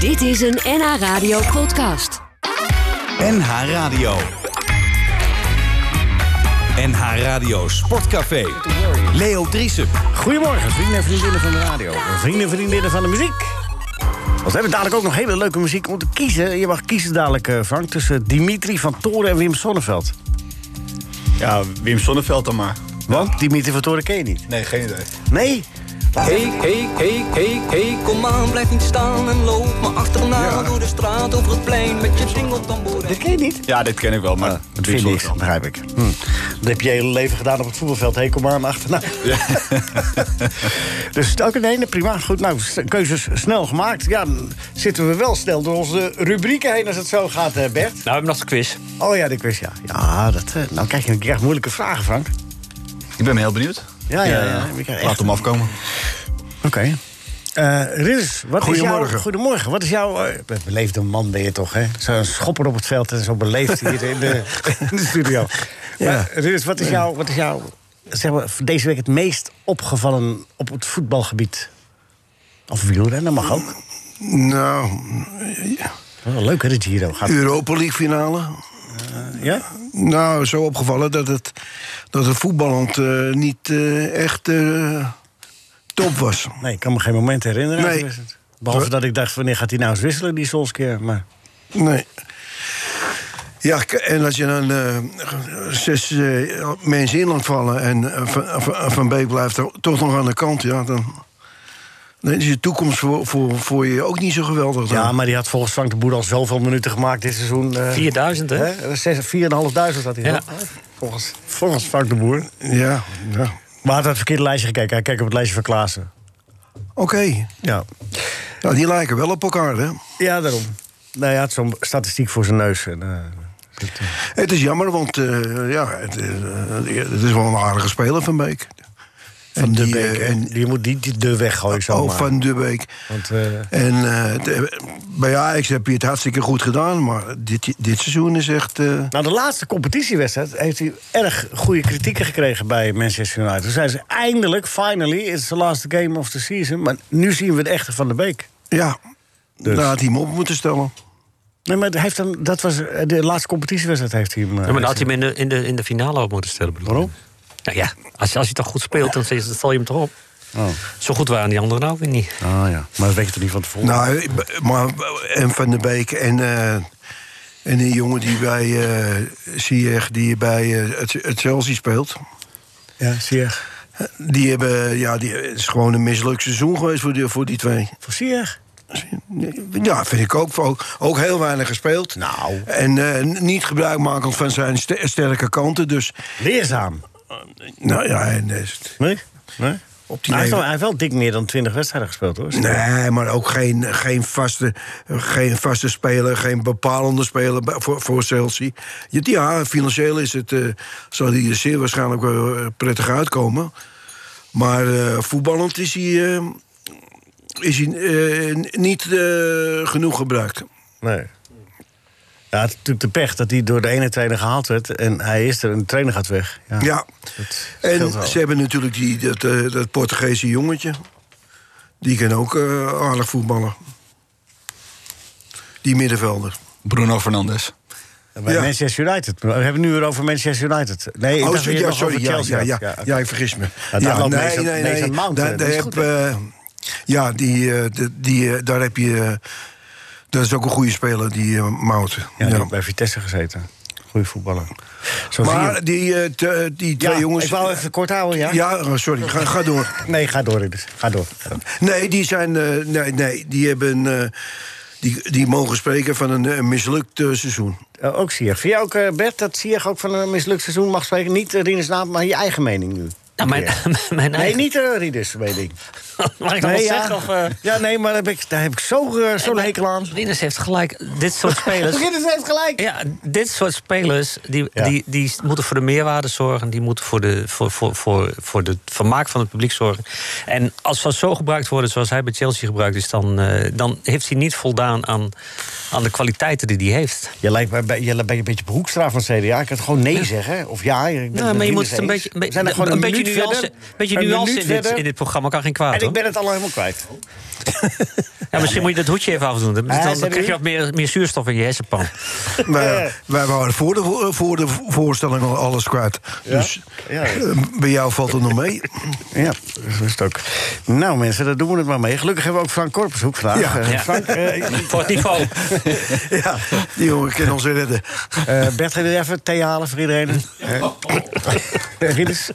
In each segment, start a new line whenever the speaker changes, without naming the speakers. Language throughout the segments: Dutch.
Dit is een NH Radio podcast.
NH Radio. NH Radio Sportcafé. Leo Driesen.
Goedemorgen, vrienden en vriendinnen van de radio. Vrienden en vriendinnen van de muziek. Want we hebben dadelijk ook nog hele leuke muziek om te kiezen. Je mag kiezen dadelijk, eh, Frank, tussen Dimitri van Toren en Wim Sonneveld.
Ja, Wim Sonneveld dan maar.
Want Dimitri van Toren ken je niet.
Nee, geen idee.
Nee?
Hey, hey, hey, hey, hey, kom aan, blijf niet staan en loop me achterna door de straat, over het plein met je tingeltamboer.
Dat ken je niet?
Ja, dit ken ik wel, maar
Ah, dat
Wim
vind ik,
Sonneveld.
begrijp ik. Hm. Dat heb je hele leven gedaan op het voetbalveld. Hey, kom maar hem achterna. dus oké, nee, nee, prima. Goed, nou, s- keuzes snel gemaakt. Ja, dan zitten we wel snel door onze rubrieken heen als het zo gaat, eh, Bert.
Nou, we hebben nog de quiz.
Oh ja, de quiz, ja. Ja, dat, eh, nou krijg je, je krijgt moeilijke vragen, Frank.
Ik ben heel benieuwd.
Ja, ja, ja. Ik krijg echt-
Eh, Laat hem afkomen.
Oké. Eh, Ridders, wat is
Goedemorgen.
jouw... Goedemorgen. Wat is jouw... eh, be- beleefde man ben je toch, hè? Zo'n schopper op het veld en zo beleefd hier in de, in de studio. Maar, Ridders, wat is jouw... Wat is jouw zeg maar, voor deze week het meest opgevallen op het voetbalgebied? Of wielrennen, mag ook.
Mm.
Nou,
Wel leuk, hè, de Giro. Gaat,
Europa League finale.
ja?
Nou, zo opgevallen dat het, dat het voetballend eh, niet eh, echt eh, top was.
Nee, ik kan me geen moment herinneren.
Nee.
Behalve dat ik dacht, wanneer gaat hij nou eens wisselen, die Solskjaer. Maar
Nee. Ja, k- en als je dan eh, zes eh, mensen in laat vallen en eh, Van- Van- Van Beek blijft er toch nog aan de kant, ja, dan, dan is je toekomst voor, voor, voor je ook niet zo geweldig. Dan.
Ja, maar die had volgens Frank de Boer al zoveel minuten gemaakt dit seizoen. eh,
4000, hè?
hè? Zes- 4.500 had hij.
Ja.
toch? Volgens, volgens Frank de Boer.
ja, ja.
Maar hij had het verkeerde lijstje gekeken. Hij keek op het lijstje van Klaassen.
Oké,
Ja,
nou, die lijken wel op elkaar, hè?
ja daarom. Nou, hij had zo'n statistiek voor zijn neus. En, eh, dat, eh,
Het is jammer, want eh, ja, het, eh, het is wel een aardige speler van Beek.
van
En
de
die,
Beek.
eh, en-
En, je moet niet de weg gooien zomaar.
oh, van de Beek.
Want, eh,
En eh, het, eh, bij Ajax heb je het hartstikke goed gedaan, maar dit, dit seizoen is echt. eh,
Nou, de laatste competitiewedstrijd heeft hij erg goede kritieken gekregen bij Manchester United. Toen zijn ze eindelijk, finally, it's the last game of the season. Maar nu zien we het echte van de Beek.
ja,
Dus.
daar had hij hem op moeten stellen.
Nee, maar hij heeft hem, dat was eh, de laatste competitiewedstrijd heeft hij hem. eh,
Ja, maar dan had hij hem in de, in de, in de finale op moeten stellen. bedoel ik.
Waarom?
Nou ja, als, je- als hij toch goed speelt, dan zet- val je hem toch op. Zo goed waren die anderen nou weer niet.
Oh ja, maar dat weet je toch niet van tevoren?
Nou, eh, maar, en Van de Beek en, eh, en die jongen die bij eh Ziyech, die bij eh, het, het Chelsea speelt.
Ja, zie je.
Die hebben, ja, die, het is gewoon een mislukt seizoen geweest voor die, voor die twee.
Voor Sier?
Ja, vind ik ook. Ook, ook heel weinig gespeeld.
Nou.
En eh, niet gebruikmakend van zijn ste- sterke kanten. Dus,
Leerzaam.
nou ja, en, dus-
Nee? Nee?
op die
Hij heeft, wel,
leeftijd-
hij heeft wel dik meer dan 20 wedstrijden gespeeld hoor.
Nee, maar ook geen, geen, vaste, geen vaste speler, geen bepalende speler bij- voor, voor Chelsea. Ja, Ja, financieel is het, eh, zal hij er zeer waarschijnlijk wel eh, prettig uitkomen. Maar eh, voetballend is hij, eh, is hij eh, n- niet eh, genoeg gebruikt.
Nee. Ja, het is natuurlijk de pech dat hij door de ene trainer gehaald werd. En hij is er en de trainer gaat weg. Ja.
Ja,
Dat scheelt wel.
en ze hebben natuurlijk die, dat, eh, dat Portugese jongetje. Die kan ook eh, aardig voetballen. Die middenvelder.
Bruno Fernandes.
Bij
ja. Oh,
Manchester United. We hebben het nu weer over Manchester United. Nee, ik dacht dat je het nog over
Ja,
Chelsea
ja, ja,
had. oké.
ja, ik vergis me.
daar loopt Mason- Mason Mount, hè,
Daar,
dat
daar
is
heb,
goed, hè?
eh, ja, die, eh, de- die, eh, daar heb je... eh, dat is ook een goede speler, die eh, Mount.
Ja,
Ja,
die heeft bij Vitesse gezeten. Goeie voetballer. Zo zie je.
Maar die, eh, te- die twee
Ja,
jongens...
Ik wou even kort houden, ja?
Ja, oh, sorry, ga, ga door.
Nee, ga door, Ridders. Ga door.
Nee, die zijn... eh, nee, nee, die hebben... eh, die, die mogen spreken van een, eh, mislukt eh, seizoen.
Eh, ook Sier. Vind jij ook, eh, Bert, dat Sier ook van een mislukt seizoen mag spreken? Niet uh, Rieders naam, maar je eigen mening nu.
Nou, mijn,
Weer.
mijn
Nee,
eigen...
niet eh Rieders, mening.
Mag ik dat wel zeggen? Of, eh,
ja, nee, maar daar heb ik, daar heb ik zo'n eh, zo'n hekel aan.
Rinus heeft gelijk. Dit soort spelers...
Ridders heeft gelijk.
Ja, dit soort spelers die,
Ja.
die, die moeten voor de meerwaarde zorgen. Die moeten voor, de, voor, voor, voor, voor het vermaak van het publiek zorgen. En als ze zo gebruikt worden zoals hij bij Chelsea gebruikt is, dan, eh, dan heeft hij niet voldaan aan, aan de kwaliteiten die hij heeft.
Je lijkt mij bij, je bent een beetje op Hoekstra van CDA. Ik kan gewoon nee zeggen. Of ja. Ik ben het
Nou,
met
maar je moet
Linders
het
eens.
een beetje, een
We zijn er
beetje,
gewoon
een beetje
minuut
nuance,
verder,
een beetje
een
nuance
minuut
in, dit,
verder.
in dit programma kan geen kwaad.
En ik
hoor.
ben het al helemaal kwijt.
ja, misschien moet je dat hoedje even afdoen. Dan,
Ja,
dan,
zijn
krijg je
u-
wat meer, meer zuurstof in je hersenpan.
Wij, eh, wij waren voor de, voor de voorstelling al alles kwijt. Dus
Ja, ja.
eh, bij jou valt het nog mee.
Ja, dat is het ook. Nou mensen, daar doen we het maar mee. Gelukkig hebben we ook Frank Korpershoek vandaag.
Ja.
Eh,
Ja.
Frank, eh,
Voor het niveau.
ja, die jongen kan ons weer redden.
eh, Bert, ga je er even thee halen voor iedereen? Eh, Rinus?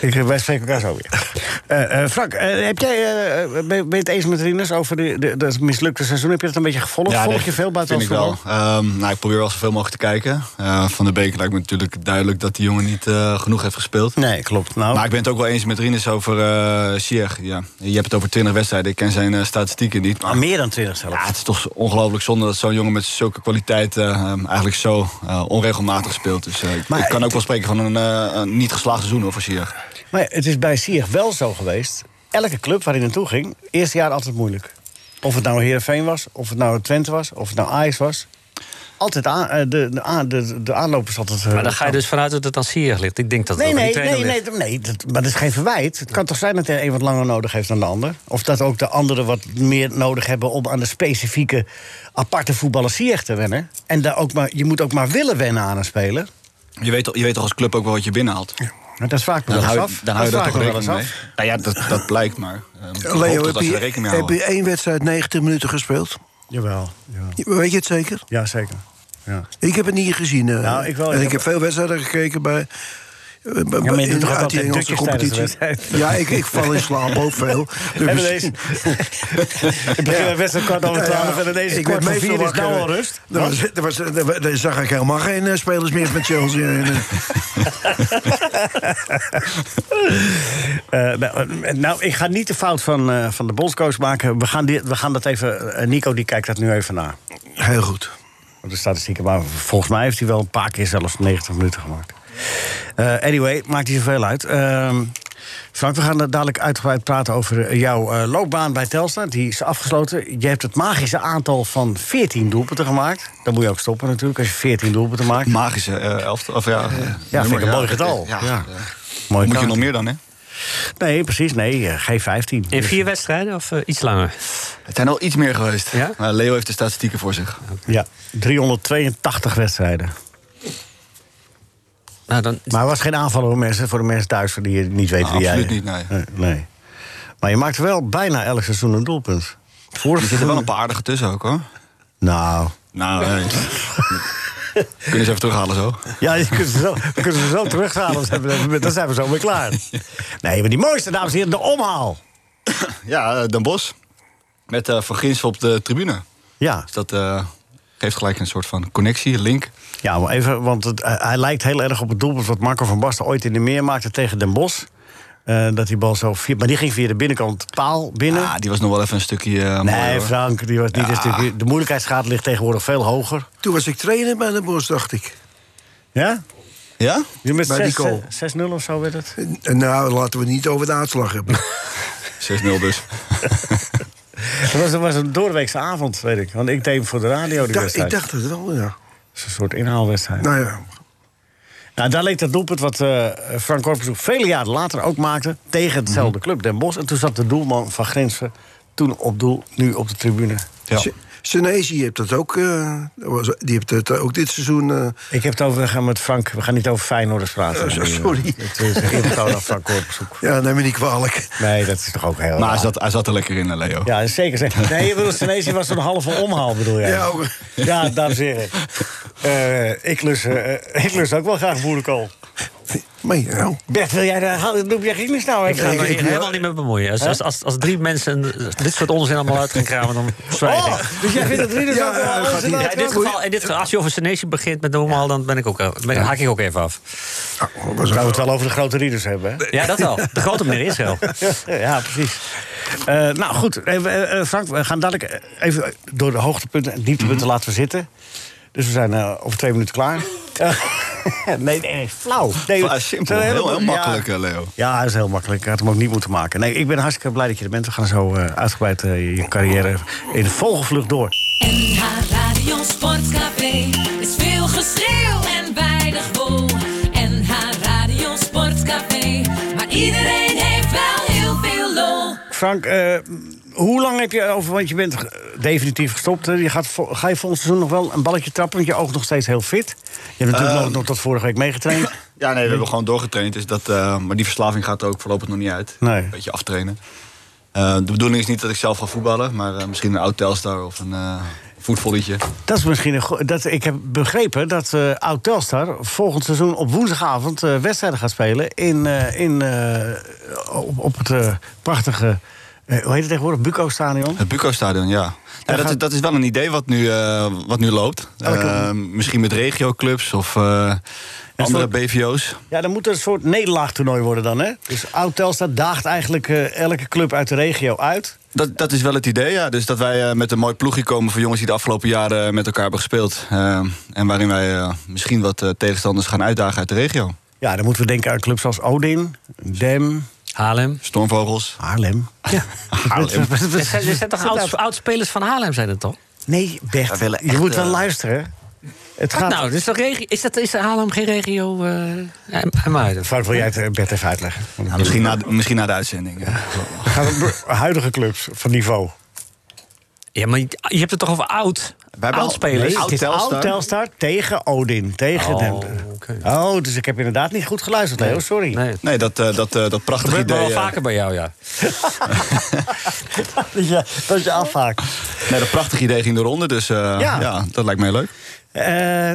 Ik, eh, wij spreken elkaar zo weer. Eh, eh, Frank, eh, heb jij, eh, eh, ben, ben je het eens met Rinus over de, de, dat mislukte seizoen? Heb je dat een beetje gevolgd? Volg
nee,
je veel buitenlands
vind ik
voetbal?
wel. Ehm, nou, ik probeer wel zoveel mogelijk te kijken. Eh, van de Beek lijkt me natuurlijk duidelijk dat die jongen niet eh, genoeg heeft gespeeld.
Nee, klopt. Nou,
Maar ik ben het ook wel eens met Rinus over eh Ziyech, Ja. Je hebt het over 20 wedstrijden. Ik ken zijn eh, statistieken niet.
ah,
Maar
meer dan 20 zelfs.
ja, het is toch ongelooflijk zonde dat zo'n jongen met zulke kwaliteiten eh, ehm, eigenlijk zo eh, onregelmatig speelt. Dus eh, ik-
Maar
ik kan
het-
ook wel spreken van een, eh, een niet geslaagd seizoen hoor, voor Ziyech.
Maar het is bij Sier wel zo geweest. Elke club waar hij naartoe ging, eerste jaar altijd moeilijk. Of het nou Heerenveen was, of het nou Twente was, of het nou Ajax was. Altijd aan, eh, de, de, aan- de, de aanloop is altijd... eh,
Maar dan ga je dus vanuit dat het aan Sierg ligt. Ik denk dat het
Nee,
ook aan die
nee,
trainer
nee, nee,
ligt.
dat- nee dat, maar dat is geen verwijt. Het kan toch zijn dat de een wat langer nodig heeft dan de ander? Of dat ook de anderen wat meer nodig hebben om aan de specifieke aparte voetballer Sier te wennen. En daar ook maar, je moet ook maar willen wennen aan een speler.
Je weet, al- je weet toch als club ook wel wat je binnenhaalt.
Maar Dat is vaak me
Dan
wel eens
hou
af.
je, dan hou je
dat
daar
vaak
toch
me wel eens
rekening mee.
af.
Nou ja, dat, dat blijkt maar. Ehm, ik hoop
Eh, Leo,
toch
heb
dat ze
je,
er rekening mee
heb
houden.
je één wedstrijd 90 minuten gespeeld?
Jawel, jawel.
Weet je het zeker?
Ja, zeker. Ja.
Ik heb het niet gezien. eh.
Nou, ik wel. Ik
En ik
heb-
heb veel wedstrijden gekeken bij. eh, bij-
je
bij-
doet toch
uit die
altijd
Engelse
dutjes tijdens de
competitie. Ja, ik, ik val in slaap ook veel. Dus
Hebben
misschien-
deze. Ik begin met Eh, wedstrijd kwart over twaalf en ineens
Ik
kwart
werd
voor
meestal
vier is
wakker.
nou al rust.
Er was, er was, er wa- er zag ik helemaal geen eh, spelers meer met Chelsea. En, eh,
Eh, nou, eh, nou, ik ga niet de fout van, eh, van de bondscoach maken. We gaan, dit- we gaan dat even... eh, Nico die kijkt dat nu even na.
heel goed.
Op de statistieken. Maar volgens mij heeft hij wel een paar keer zelfs 90 minuten gemaakt. Eh, anyway, maakt niet zoveel uit. Ehm, Frank, we gaan er dadelijk uitgebreid praten over eh, jouw eh, loopbaan bij Telstra. Die is afgesloten. Je hebt het magische aantal van 14 doelpunten gemaakt. Dan moet je ook stoppen natuurlijk, als je 14 doelpunten maakt.
Magische eh elftal. Of ja, ja,
vind ik een mooi getal.
Ja,
Ja.
ja.
Mooi
Moet je
kaart.
nog meer dan, hè?
Nee, precies. Nee, eh, geen 15.
In
Dus-
vier wedstrijden of eh, iets langer?
Het zijn al iets meer geweest.
Ja?
Maar Leo heeft de statistieken voor zich.
Ja, 382 wedstrijden.
Nou, dan,
Maar het was geen aanval voor mensen, voor de mensen thuis voor die het niet weten
Ah,
wie jij
absoluut niet, nee.
nee. Maar je maakt wel bijna elk seizoen een doelpunt.
Er
Vorig
zitten wel een
seizoen...
paar aardige tussen ook, hoor.
Nou...
Nou, hey. Kunnen ze even terughalen zo?
Ja, je kunt ze zo, we kunnen ze zo terughalen. Dan zijn we- Dan zijn we zo weer klaar. Nee, maar die mooiste, dames en heren, de omhaal.
Ja, eh, Den Bos. Met eh, Van Gins op de tribune.
Ja,
Dus dat eh, geeft gelijk een soort van connectie, link.
ja maar even, want het, eh, hij lijkt heel erg op het doelpunt... wat Marco van Basten ooit in de meer maakte tegen Den Bosch. Eh, dat die bal zo... Via, maar die ging via de binnenkant paal binnen.
Ah, die was nog wel even een stukje eh mooier,
nee,
hoor.
Frank, die was niet een stukje... De moeilijkheidsgraad ligt tegenwoordig veel hoger.
Toen was ik trainer bij de Bos, dacht ik.
Ja?
Ja?
Je met
Bij die goal.
6 0 of zo werd het.
En- en Nou, laten we het niet over de uitslag hebben.
6-0 dus.
Dat was, dat was een doorweekse avond, weet ik. Want ik deed hem voor de radio die
Ik dacht,
wedstrijd.
ik dacht het wel, ja.
Dat is een soort inhaalwedstrijd. Nou,
Nou ja,
daar leek dat doelpunt wat eh, Frank Korpershoek vele jaren later ook maakte... tegen hetzelfde
Mhm.
club, Den Bosch. En toen zat de doelman van Grinsen toen op doel, nu op de tribune.
Ja.
Se- Senesi heeft dat ook, eh, was- die heeft het ook dit seizoen. eh,
Ik heb het over, we gaan met Frank, we gaan niet over Feyenoorders praten.
Eh, sorry.
Het is een eerbetoon aan Frank Korpershoek.
ja, neem me niet kwalijk.
Nee, dat is toch ook heel
Maar
raar.
hij zat, hij zat er lekker in, hè, Leo.
Ja, zeker. zeker. Nee, je bedoelt Senesi was zo'n halve omhaal, bedoel jij?
Ja, ook.
Ja, dames en heren. Eh, ik, lus, eh, ik lus ook wel graag boerenkool.
Maar nou,
Bert, wil jij daar... Doe jij Guinness nou
Ik ga me
even?
hier helemaal niet mee bemoeien. Als, als, als, als drie mensen dit soort onzin allemaal uit gaan kramen, dan zwijg ik.
Oh, dus jij vindt het Rinus
Ja,
ook wel
ja,
alles
gaat
in
niet.
Ja,
orde?
in dit geval, in dit geval, als je over Senesi begint met normaal, dan ben ik ook, eh, ben, haak ik ook even af.
nou,
We
was
zouden het wel over de grote rieders hebben, hè?
Ja, dat wel. De grote meneer Israël.
Ja, precies. Eh, nou goed, eh, we- eh, Frank, we gaan dadelijk eh, even door de hoogtepunten en dieptepunten laten we zitten. Dus we zijn eh, over twee minuten klaar. Eh, nee, nee, nee, flauw. Nee,
Ah, simpel.
het zijn
Heel, heel
hele-
makkelijk,
ja.
eh, Leo.
Ja, dat is heel makkelijk. Ik had hem ook niet moeten maken. Nee, ik ben hartstikke blij dat je er bent. We gaan zo eh, uitgebreid eh, je carrière in vogelvlucht door.
NH
Sportcafé is veel geschreeuw en weinig wol. NH Radio Sportcafé, maar iedereen heeft wel heel veel lol.
Frank, eh, hoe lang heb je over? Want je bent eh, definitief gestopt. hè? Je gaat, vo- ga je volgend seizoen nog wel een balletje trappen? Want je oogt nog steeds heel fit. Je hebt natuurlijk nog, nog tot vorige week meegetraind.
Ja, nee, we hebben gewoon doorgetraind. Dus dat, eh, maar die verslaving gaat er ook voorlopig nog niet uit.
Nee.
Een beetje aftrainen. Eh, de bedoeling is niet dat ik zelf ga voetballen, maar eh, misschien een oud Telstar of een eh voetvolletje.
Dat is misschien een go- dat Ik heb begrepen dat eh Oud Telstar volgend seizoen op woensdagavond eh, wedstrijden gaat spelen. In, eh, in, eh, op, op het eh, prachtige. eh, hoe heet het tegenwoordig? Buco Stadion.
Het Buco-stadion, ja. Nou, dat, is, dat is wel een idee wat nu, eh, wat nu loopt.
Elke-
Eh, misschien met regioclubs of eh, andere
soort-
BVO's.
Ja, dan moet er een soort nederlaagtoernooi worden dan, hè? Dus Oud Telstar daagt eigenlijk eh, elke club uit de regio uit.
Dat, dat is wel het idee, ja. Dus dat wij eh, met een mooi ploegje komen voor jongens die de afgelopen jaren eh, met elkaar hebben gespeeld. Eh, en waarin wij eh, misschien wat eh, tegenstanders gaan uitdagen uit de regio.
Ja, dan moeten we denken aan clubs als Odin, Dem,
Haarlem.
Stormvogels.
Haarlem. Ja.
Haarlem.
Er zijn, er zijn toch oud- Dus oud-spelers van Haarlem, zijn het toch?
Nee,
Wij
Bert,
willen
je
echt,
moet wel
eh,
luisteren. hè? Het gaat...
Nou, dus toch regio, is, dat, is Haarlem geen regio? eh Muiden?
Frank, wil jij het eh, Bert even uitleggen?
Ja, misschien, na, misschien na de uitzending. ja.
Het gaat om de huidige clubs van niveau.
Ja, maar je je hebt het toch over oud?
hebben al-
Oud-spelers?
nee,
Het is
Telstar.
oud Telstar tegen Odin, tegen
Oh,
Dem.
oké.
Oh, dus ik heb inderdaad niet goed geluisterd, Leo, sorry.
Nee,
Nee, dat, eh, dat, eh, dat prachtige
gebeurt
idee.
maar wel
eh,
vaker bij jou, ja.
Dat, je, dat je afhaakt.
nee, dat prachtige idee ging de ronde, dus eh,
Ja.
ja. dat lijkt mij leuk.
Eh,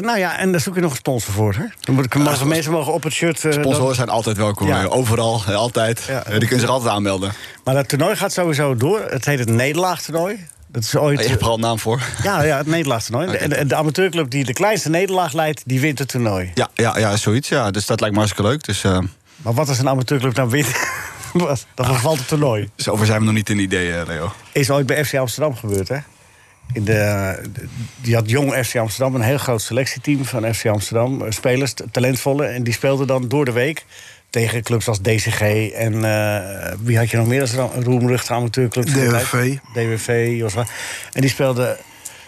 nou ja, en daar zoek je nog een sponsor voor, hè? Dan moet ik, mogen mensen mogen op het shirt... eh, dat-
Sponsoren zijn altijd welkom,
Ja.
eh, overal, eh, altijd.
Ja.
Eh, die kunnen zich altijd aanmelden.
maar dat toernooi gaat sowieso door. Het heet het Nederlaagtoernooi. Dat is
Je
ooit...
hebt er al een naam voor.
Ja, ja, het nederlaagtoernooi. En De, en de amateurclub die de kleinste nederlaag leidt, die wint het toernooi.
Ja, ja, ja, zoiets. Ja. Dus dat lijkt me hartstikke leuk. Dus eh,
Maar wat als een amateurclub nou wint? Wat? Dan vervalt het toernooi.
zover dus zijn we nog niet in idee, eh, Leo.
Is ooit bij FC Amsterdam gebeurd, hè? In de, de- die had jong FC Amsterdam, een heel groot selectieteam van FC Amsterdam. eh, Spelers, t- talentvolle. En die speelden dan door de week tegen clubs als DCG. En eh, wie had je nog meer als ra- roemruchte amateurclub?
DWV.
DWV, Joswa. En die speelden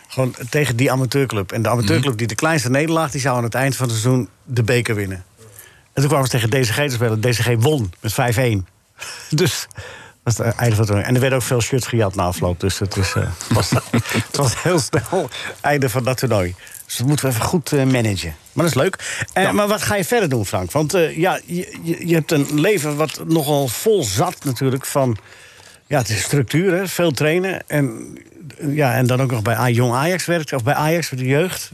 gewoon tegen die amateurclub. En de amateurclub die de kleinste nederlaag... die zou aan het eind van het seizoen de beker winnen. En toen kwamen ze tegen DCG te spelen. DCG won met 5-1. Dus dat was het einde van het toernooi. En er werden ook veel shirts gejat na afloop. Dus het, is, eh, het was, het was heel snel einde van dat toernooi. Dus dat moeten we even goed eh, managen. Maar dat is leuk. Eh, Maar wat ga je verder doen, Frank? Want eh, ja, je, je- je hebt een leven wat nogal vol zat natuurlijk van... Ja, het is structuur, hè? veel trainen. En, eh, ja, en dan ook nog bij A- Jong Ajax werkt, of bij Ajax, bij de jeugd.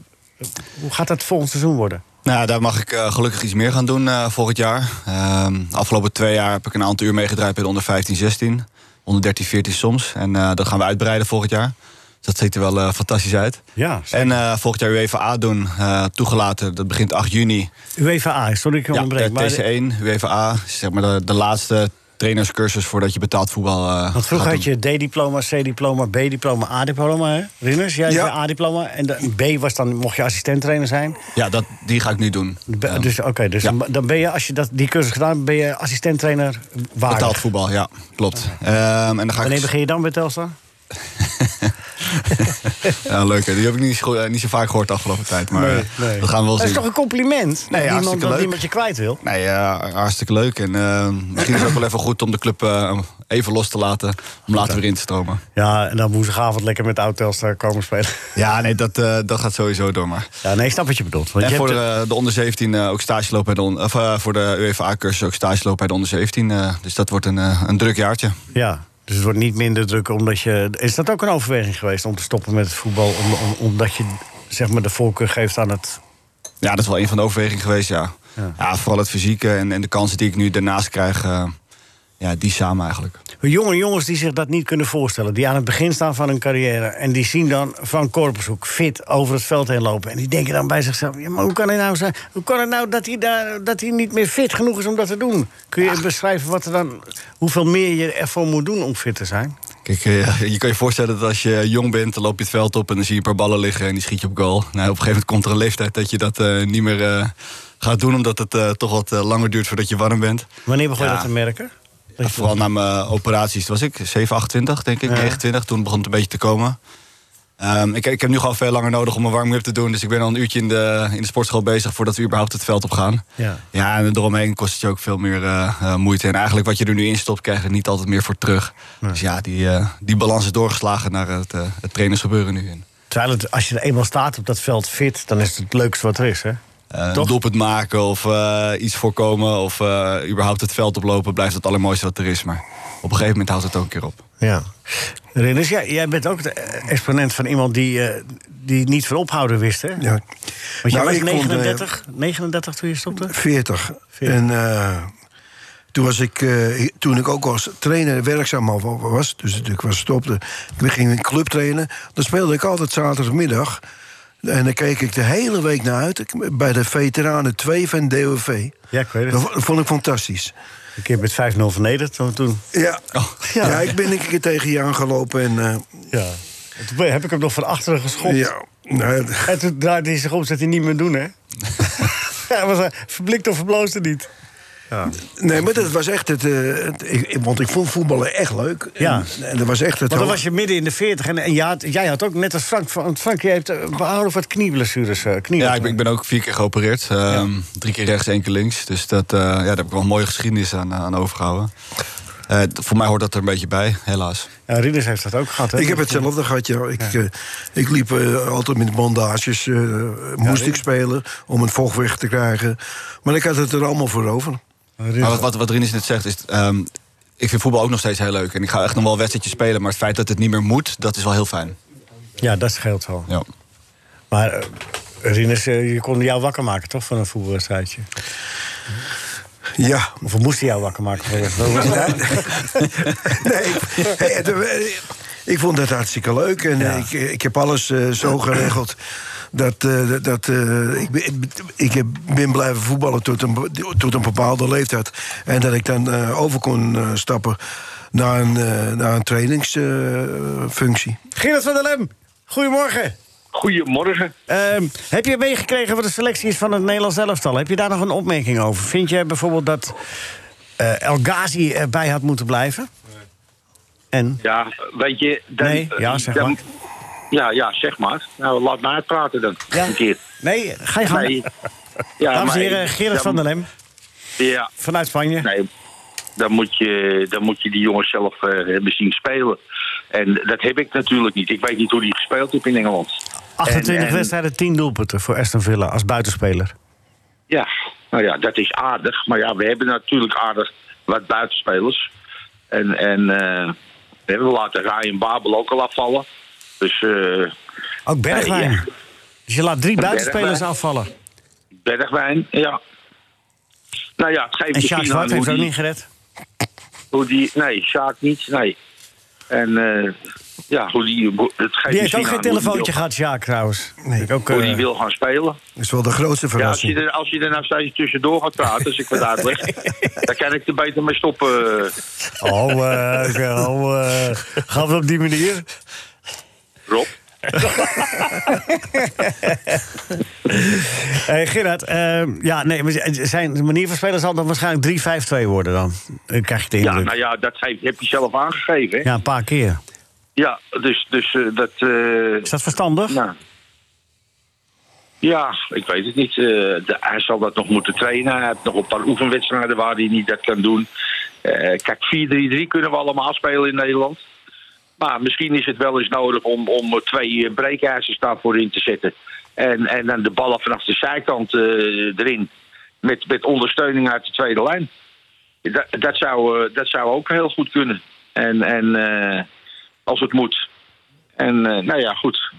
Hoe gaat dat volgend seizoen worden?
Nou, ja, daar mag ik eh, gelukkig iets meer gaan doen eh, volgend jaar. Ehm, de afgelopen twee jaar heb ik een aantal uur meegedraaid bij de onder 15, 16. Onder 13, 14 soms. En eh, dat gaan we uitbreiden volgend jaar. Dus dat ziet er wel eh, fantastisch uit.
Ja,
En eh, volgend jaar UEFA A doen, eh, toegelaten. Dat begint 8 juni. eh,
UEFA E A, sorry dat ik je
ja,
onderbreek. maar-
TC1, UEFA A. is Zeg maar de, de laatste trainerscursus voordat je betaald voetbal eh,
Want vroeger
gaat
had je D-diploma, C-diploma, B-diploma, A-diploma. hè? Rinners, jij
Ja.
had je A-diploma. En de B was dan, mocht je assistent trainer zijn.
doen. Ja, dat, die ga ik nu doen.
Be-
Eh,
dus oké, dus
ja.
dan- dan ben je, als je dat, die cursus gedaan hebt, ben je assistent trainer waardig.
betaald voetbal, ja, klopt. Ehm, en dan ga
Wanneer
ik...
begin je dan bij Telstar?
Ja, leuk. hè. Die heb ik niet, zo- eh, niet zo vaak gehoord de afgelopen tijd. Maar
Nee,
eh,
nee.
dat gaan we wel
Dat is
zien.
toch een compliment?
Nee,
dat iemand,
hartstikke
dat
leuk.
iemand je kwijt wil.
Nee, ja, hartstikke leuk. En eh, misschien is het ook wel even goed om de club eh, even los te laten. Om later weer in te stromen.
Ja, en dan woensdagavond lekker met oud
eh,
Telstar komen spelen.
Ja, nee, dat, eh, dat gaat sowieso door. Maar.
Ja, nee, ik snap wat je bedoelt. Want
en
je
voor
hebt-
de, de onder 17 eh, ook stage lopen bij de on- of, eh, voor de UEFA-cursus ook stage lopen bij de onder 17. eh, dus dat wordt een, eh, een druk jaartje.
Ja, dus het wordt niet minder druk omdat je... Is dat ook een overweging geweest om te stoppen met het voetbal? Om, om- omdat je zeg maar, de voorkeur geeft aan het...
Ja, dat is wel een van de overwegingen geweest, ja.
Ja.
Ja, vooral het fysieke en, en de kansen die ik nu daarnaast krijg. eh, ja, die samen eigenlijk.
Jonge jongens die zich dat niet kunnen voorstellen. Die aan het begin staan van hun carrière. En die zien dan Van Korpershoek fit over het veld heen lopen. En die denken dan bij zichzelf... Ja, maar hoe kan het nou, zijn, hoe kan het nou dat, hij daar, dat hij niet meer fit genoeg is om dat te doen? Kun je beschrijven wat er dan, hoeveel meer je ervoor moet doen om fit te zijn?
Kijk, eh, je kan je voorstellen dat als je jong bent, dan loop je het veld op en dan zie je een paar ballen liggen en die schiet je op goal. Nou, op een gegeven moment komt er een leeftijd dat je dat eh, niet meer eh, gaat doen, omdat het eh, toch wat eh, langer duurt voordat je warm bent.
Wanneer begon je
Ja.
dat te merken?
Ja, vooral na mijn operaties, toen was ik 7, 28 denk ik, 29, toen begon het een beetje te komen. Eh, Ehm, ik, ik heb nu gewoon veel langer nodig om een warming-up te doen. Dus ik ben al een uurtje in de, in de sportschool bezig voordat we überhaupt het veld op gaan.
Ja.
ja, en eromheen kost het je ook veel meer eh, eh, moeite. En eigenlijk wat je er nu in stopt, krijg je er niet altijd meer voor terug. Dus ja, die, eh, die balans is doorgeslagen naar het, eh, het trainersgebeuren nu. En,
Terwijl het, als je er eenmaal staat op dat veld fit, dan is het het leukste wat er is, hè?
eh,
Toch?
een doelpunt maken of eh, iets voorkomen of eh, überhaupt het veld oplopen blijft het allermooiste wat er is. Maar op een gegeven moment houdt het ook een keer op.
Ja. Rinus, jij, jij bent ook de eh, exponent van iemand die, eh, die niet van ophouden wist, hè?
Ja.
Want jij
Nou,
was
ik kon, eh,
39, 39 toen je stopte?
40.
40.
En eh, toen, was ik, eh, toen ik ook als trainer werkzaam al was, dus ik was stopte, ik ging in een club trainen, dan speelde ik altijd zaterdagmiddag. En dan keek ik de hele week naar uit ik- bij de veteranen 2 van DOV.
Ja, ik weet het.
Dat vo- vond ik fantastisch.
Een keer met 5-0 vernederd toen- toen.
Ja,
ja.
ja. ik ben een keer tegen je aangelopen en eh,
Ja. Toen heb ik hem nog van achteren geschopt.
ja, nou,
En toen draaide hij zich om, zei hij niet meer doen, hè? hij was eh, verblikt of verbloosde niet.
nee, maar dat was echt het, eh, het- ik- ik- want ik vond voetballen echt leuk.
Ja.
En, en dat was echt het.
Want dan
hoog-
was je midden in de 40 en, en jij, had, jij had ook net als Frank. van- want Frank, jij hebt eh, behouden wat knieblessures. eh, knie
Ja, ik ben, ik ben ook vier keer geopereerd. Ehm, Drie keer rechts, één keer links. Dus dat, eh, ja, daar heb ik wel een mooie geschiedenis aan, eh, aan overgehouden. Eh, d- voor mij hoort dat er een beetje bij, helaas.
Ja, Rinus heeft dat ook gehad. Hè?
Ik heb hetzelfde gehad, ja. Ik, eh, ik liep eh, altijd met bandages. eh, moest ik spelen om een vocht weg te krijgen. Maar ik had het er allemaal voor over.
Maar wat, wat, wat Rinus net zegt is... ehm, ik vind voetbal ook nog steeds heel leuk. En ik ga echt nog wel wedstrijdjes spelen. Maar het feit dat het niet meer moet, dat is wel heel fijn.
Ja, dat scheelt wel.
Ja.
Maar eh, Rinus, eh, je kon jou wakker maken toch van een voetbalwedstrijdje?
Ja.
Of we moesten jou wakker maken van een wedstrijd?
Nee, ik- het, eh, ik vond dat hartstikke leuk. En eh, ik, ik heb alles eh, zo geregeld. Dat, eh, dat- dat, eh, ik, ben- ik ben- ik heb- ben blijven voetballen tot een, be- tot een bepaalde leeftijd. En dat ik dan eh, over kon eh, stappen naar een, eh, naar een trainingsfunctie. Eh,
Gerard van der Lem, goedemorgen.
Goedemorgen.
Ehm, heb je meegekregen wat de selectie is van het Nederlands elftal? Heb je daar nog een opmerking over? Vind jij bijvoorbeeld dat eh, El Ghazi erbij had moeten blijven? En?
Ja, weet je... Dan,
Nee, ja, zeg maar.
Ja, ja, zeg maar. Nou, laat mij praten dan.
Ja.
Een keer.
Nee, ga je gang.
Nee. Ja,
Dames en
maar-
heren, Gerard
dan-
van der Lem
Ja,
vanuit Spanje.
nee. Dan moet, je, dan moet je die jongens zelf eh, hebben zien spelen. En dat heb ik natuurlijk niet. Ik weet niet hoe die gespeeld heeft in Engeland.
28
en- en-
wedstrijden, 10 doelpunten voor Aston Villa als buitenspeler.
Ja, nou ja, dat is aardig. Maar ja, we hebben natuurlijk aardig wat buitenspelers. En, en eh, we laten Ryan Babel ook al afvallen. Dus eh,
Ook Bergwijn.
Nee, ja.
Dus je laat drie buitenspelers
Bergwijn.
afvallen.
Bergwijn, ja. Nou ja, het geeft
En Sjaak
misschien aan
Zwart
hoe
heeft ook
die,
niet gered.
hoe die... Nee, Sjaak niet, nee. En eh, ja, hoe die... hoe- Het geeft
Die heeft
misschien
ook geen
aan hoe die
telefoontje
wil-
gehad, Sjaak, trouwens. Ik ook,
Hoe
eh,
die wil gaan spelen.
Dat is wel de grootste
Ja, als, je
verrassing.
er, als je er nou steeds tussendoor gaat praten, als ik wat uitleg... dan kan ik er beter mee stoppen.
Oh, eh, oh eh, gaan we op die manier?
Rob.
Hey Gerard, eh, ja, nee, maar zijn manier van spelen zal dan waarschijnlijk 3-5-2 worden dan. Dan krijg je de
Ja,
indruk.
nou ja, dat geef- heb je zelf aangegeven. hè?
Ja, een paar keer.
Ja, dus, dus eh, dat... eh,
Is dat verstandig?
Nou. Ja, ik weet het niet. Eh, de, hij zal dat nog moeten trainen. Hij heeft nog een paar oefenwedstrijden waar hij niet dat kan doen. Eh, kijk, 4-3-3 kunnen we allemaal spelen in Nederland. Maar misschien is het wel eens nodig om, om twee eh, breekijzers daarvoor in te zetten. En, en dan de ballen vanaf de zijkant eh, erin. Met, met ondersteuning uit de tweede lijn. Dat, dat, zou, eh, dat zou ook heel goed kunnen. En, en eh, als het moet. En eh, nou ja, goed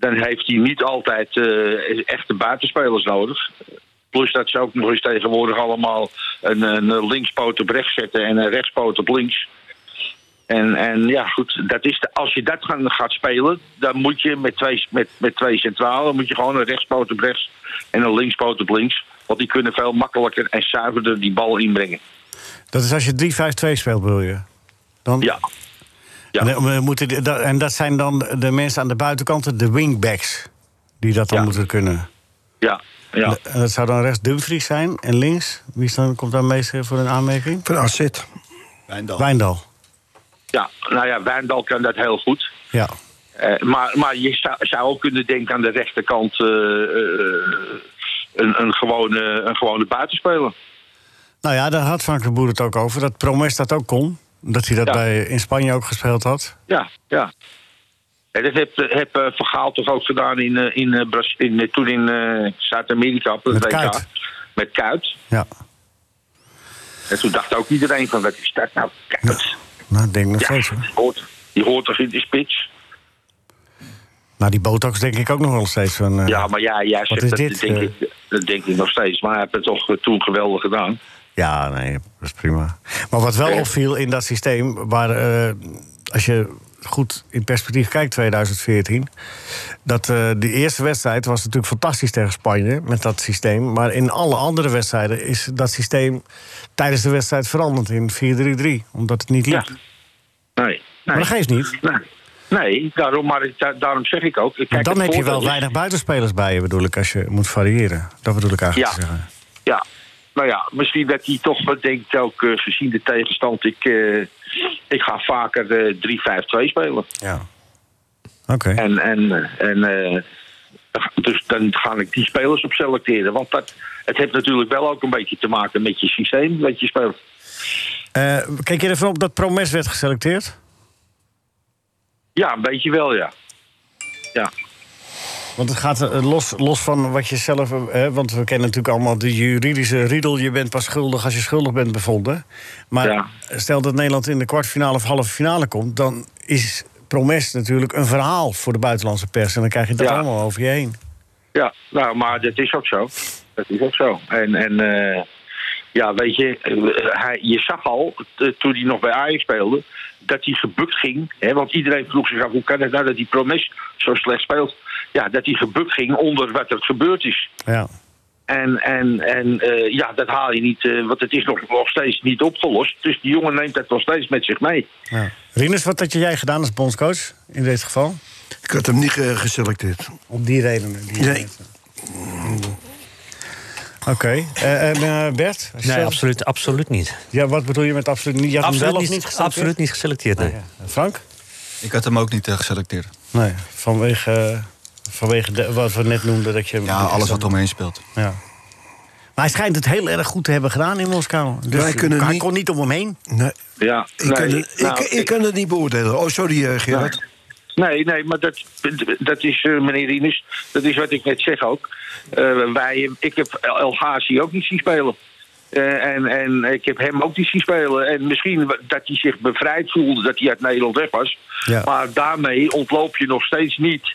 dan heeft hij niet altijd eh, echte buitenspelers nodig. Plus dat ze ook nog eens tegenwoordig allemaal een, een linkspoot op rechts zetten en een rechtspoot op links. En, en ja, goed, dat is de, als je dat gaan, gaat spelen, dan moet je met twee, met, met twee centralen moet je gewoon een rechtspoot op rechts en een linkspoot op links. Want die kunnen veel makkelijker en zuiverder die bal inbrengen.
Dat is als je 3-5-2 speelt, bedoel je? Dan,
Ja, ja.
En, we moeten, die- dat- en dat zijn dan de mensen aan de buitenkanten, de wingbacks, die dat dan
Ja.
moeten kunnen.
ja, ja.
En dat zou dan rechts Dumfries zijn en links. Wie is dan, komt daar meest voor een aanmerking?
Van AZ.
Wijndal.
Wijndal.
ja. Nou ja, Wijndal kan dat heel goed.
Ja.
Eh, maar, maar je zou, zou ook kunnen denken aan de rechterkant eh, eh, een, een, gewone, een gewone buitenspeler.
Nou ja, daar had Frank de Boer het ook over. Dat Promes dat ook kon. Dat hij dat
Ja.
bij, in Spanje ook gespeeld had.
Ja, ja. En dat heb, heb eh, Van Gaal toch ook gedaan in, eh, in, eh, Bras- in, eh, toen in eh, Zuid-Amerika op het
Met
WK.
Kuyt.
Met Kuit.
Ja.
En toen dacht ook iedereen van, wat is dat nou? Kuit.
Nou, ik denk nog
Ja,
steeds.
die
Hoor.
hoort, die hoort toch in de spits?
Nou, die botox denk ik ook nog wel steeds van. eh,
Ja, maar ja, jij
Wat
zegt
is
dat,
dit?
Denk
Eh.
ik, dat denk ik nog steeds. Maar hij heeft het toch eh, toen geweldig gedaan.
Ja, nee, dat is prima. Maar wat wel
Ja.
opviel in dat systeem, waar eh, als je goed in perspectief kijkt, 2014, dat eh die eerste wedstrijd was natuurlijk fantastisch tegen Spanje met dat systeem. Maar in alle andere wedstrijden is dat systeem tijdens de wedstrijd veranderd in 4-3-3, omdat het niet liep.
Ja. Nee. nee.
Maar dat geeft niet.
Nee, nee daarom, maar ik- da- daarom zeg ik ook. Kijk,
Want dan
het
heb je wel
voordeel is-
weinig buitenspelers bij je, bedoel ik, als je moet variëren. Dat bedoel ik eigenlijk
Ja.
te zeggen.
Ja, nou ja, misschien dat hij toch wat denkt, ook eh, gezien de tegenstand, ik, eh, ik ga vaker eh 3-5-2 spelen.
Ja. Oké.
En, en, en eh, dus dan ga ik die spelers op selecteren. Want dat, het heeft natuurlijk wel ook een beetje te maken met je systeem dat je speelt.
Eh, kijk je ervan op dat Promes werd geselecteerd?
Ja, een beetje wel, ja. Ja,
Want het gaat eh, los, los van wat je zelf. eh, hè, want we kennen natuurlijk allemaal de juridische riedel. Je bent pas schuldig als je schuldig bent bevonden. Maar
Ja.
stel dat Nederland in de kwartfinale of halve finale komt. dan is Promes natuurlijk een verhaal voor de buitenlandse pers. En dan krijg je dat
Ja.
allemaal over je heen.
ja nou, maar dat is ook zo. Dat is ook zo. En, en eh, ja, weet je, eh, hij, je zag al, eh, toen hij nog bij Ajax speelde, dat hij gebukt ging. Hè, want iedereen vroeg zich af, hoe kan het nou dat die Promes zo slecht speelt? Ja, dat hij gebukt ging onder wat er gebeurd is.
Ja.
En, en, en eh, ja, dat haal je niet, eh, want het is nog, nog steeds niet opgelost. Dus die jongen neemt dat nog steeds met zich mee.
ja. Rinus, wat had jij gedaan als bondscoach in dit geval?
Ik had hem niet eh, geselecteerd.
Om die redenen. die je
Nee.
net- Oké. Eh, en eh, Bert? als je
Nee,
zelf-
absoluut, absoluut niet.
Ja, wat bedoel je met absoluut niet? Je had hem
Absoluut
wel of
niet,
niet geselecteerd?
absoluut niet geselecteerd, nee.
Ja. Frank?
Ik had hem ook niet eh, geselecteerd.
Nee, vanwege, eh, vanwege de- wat we net noemden. Dat je
Ja, alles wat omheen speelt.
Ja. Maar hij schijnt het heel erg goed te hebben gedaan in Moskou. Dus
Wij kunnen
hij
niet-
kon niet om hem heen.
Nee,
Ja,
ik, kan, het- ik,
nou,
ik, kan het niet beoordelen. Oh, sorry eh, Gerard.
Nee, nee, maar dat, dat is, eh, meneer Rinus, dat is wat ik net zeg ook. Eh, wij, ik heb El El Ghazi ook niet zien spelen. Eh, en, en ik heb hem ook niet zien spelen. En misschien wa- dat hij zich bevrijd voelde dat hij uit Nederland weg was.
Ja.
Maar daarmee ontloop je nog steeds niet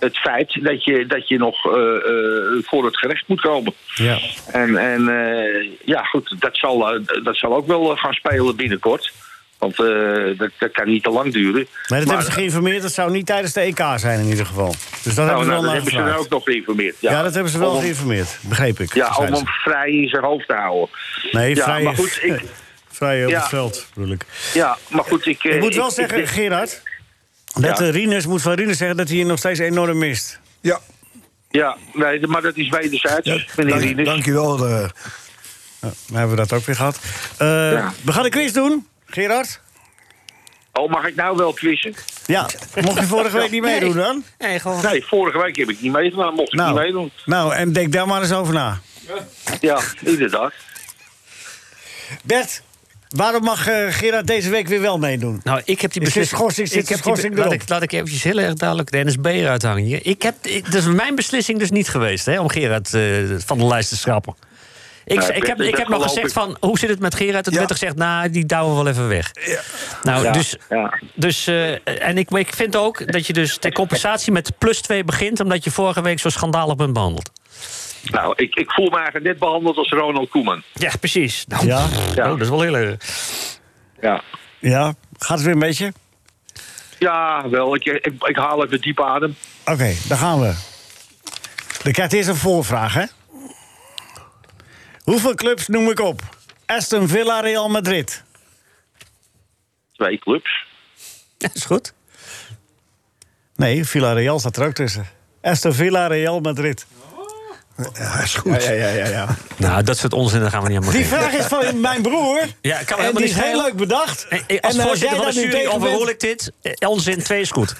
het feit dat je, dat je nog eh, eh, voor het gerecht moet komen.
Ja.
En, en eh, ja, goed, dat zal, eh, dat zal ook wel eh, gaan spelen binnenkort. Want eh, dat, dat kan niet te lang duren.
Maar dat hebben ze geïnformeerd. Dat zou niet tijdens de EK zijn in ieder geval. Dus dat hebben
nou,
ze wel
nou, dat
naar
hebben ze dan
gevraagd.
ook nog geïnformeerd.
ja.
Ja,
dat hebben ze wel
Om hem-
geïnformeerd. Begreep ik.
Ja, om
zeiden
hem
ze.
vrij in zijn hoofd te houden.
Nee,
ja,
vrij,
maar goed, ik,
vrij op
Ja.
het veld, bedoel ik.
ja, maar goed, ik... eh,
Ik moet wel
ik-
zeggen,
ik-
Gerard... Dat
Ja.
eh, Rinus moet van Rinus zeggen dat hij je nog steeds enorm mist.
Ja,
ja, nee, maar dat is wederzijds, meneer
dank,
Rinus.
dankjewel. eh.
Nou, dan hebben we dat ook weer gehad. Eh, We gaan een quiz doen, Gerard.
Oh, mag ik nou wel quizzen?
Ja, mocht je vorige week niet meedoen dan?
Nee, gewoon.
Nee, vorige week heb ik niet meegedaan, mocht ik niet meedoen.
nou, en denk daar maar eens over na.
Ja, inderdaad.
Bert, waarom mag eh, Gerard deze week weer wel meedoen?
Nou, ik heb die
Is dit
beslissing.
schorsing? Zit
ik
de
heb die be-
schorsing
laat,
erop?
ik, laat ik eventjes heel erg duidelijk de NSB eruit hangen. hier. Ik heb, ik- dat is mijn beslissing dus niet geweest hè, om Gerard eh, van de lijst te schrappen. Ik,
Nou,
ik heb,
dat-
ik
dat
heb nog
geloof
gezegd
ik.
van, hoe zit het met Gerard? En toen
Ja.
werd er gezegd, nou, die duwen we wel even weg. Nou,
Ja,
dus...
ja.
dus eh, en ik, maar ik vind ook dat je dus ter compensatie met plus 2 begint... omdat je vorige week zo schandalig bent behandeld.
Nou, ik, ik voel me eigenlijk net behandeld als Ronald Koeman.
Ja, precies. Nou,
Ja.
ja. dat is wel heel erg.
Ja,
Ja, gaat het weer een beetje?
ja wel, ik, ik, ik haal even diep adem.
Oké, daar gaan we. Dan krijgt eerst een voorvraag, hè? Hoeveel clubs noem ik op? Aston Villa, Real Madrid.
Twee clubs.
Dat is goed.
Nee, Villarreal staat er ook tussen. Aston Villa, Real Madrid.
Ja, is goed.
Ja, ja, ja, ja.
Nou, dat soort onzin, daar gaan we niet aan
Die
beginnen.
vraag is van mijn broer.
Ja, kan me
en
helemaal
die
niet
is heel
schelen.
leuk bedacht.
Hey, hey, als
en eh, als jij
voorzitter van
daar
de
nu
jury
tegen bent-
overhoor ik dit. Eh, Onzin, twee is goed.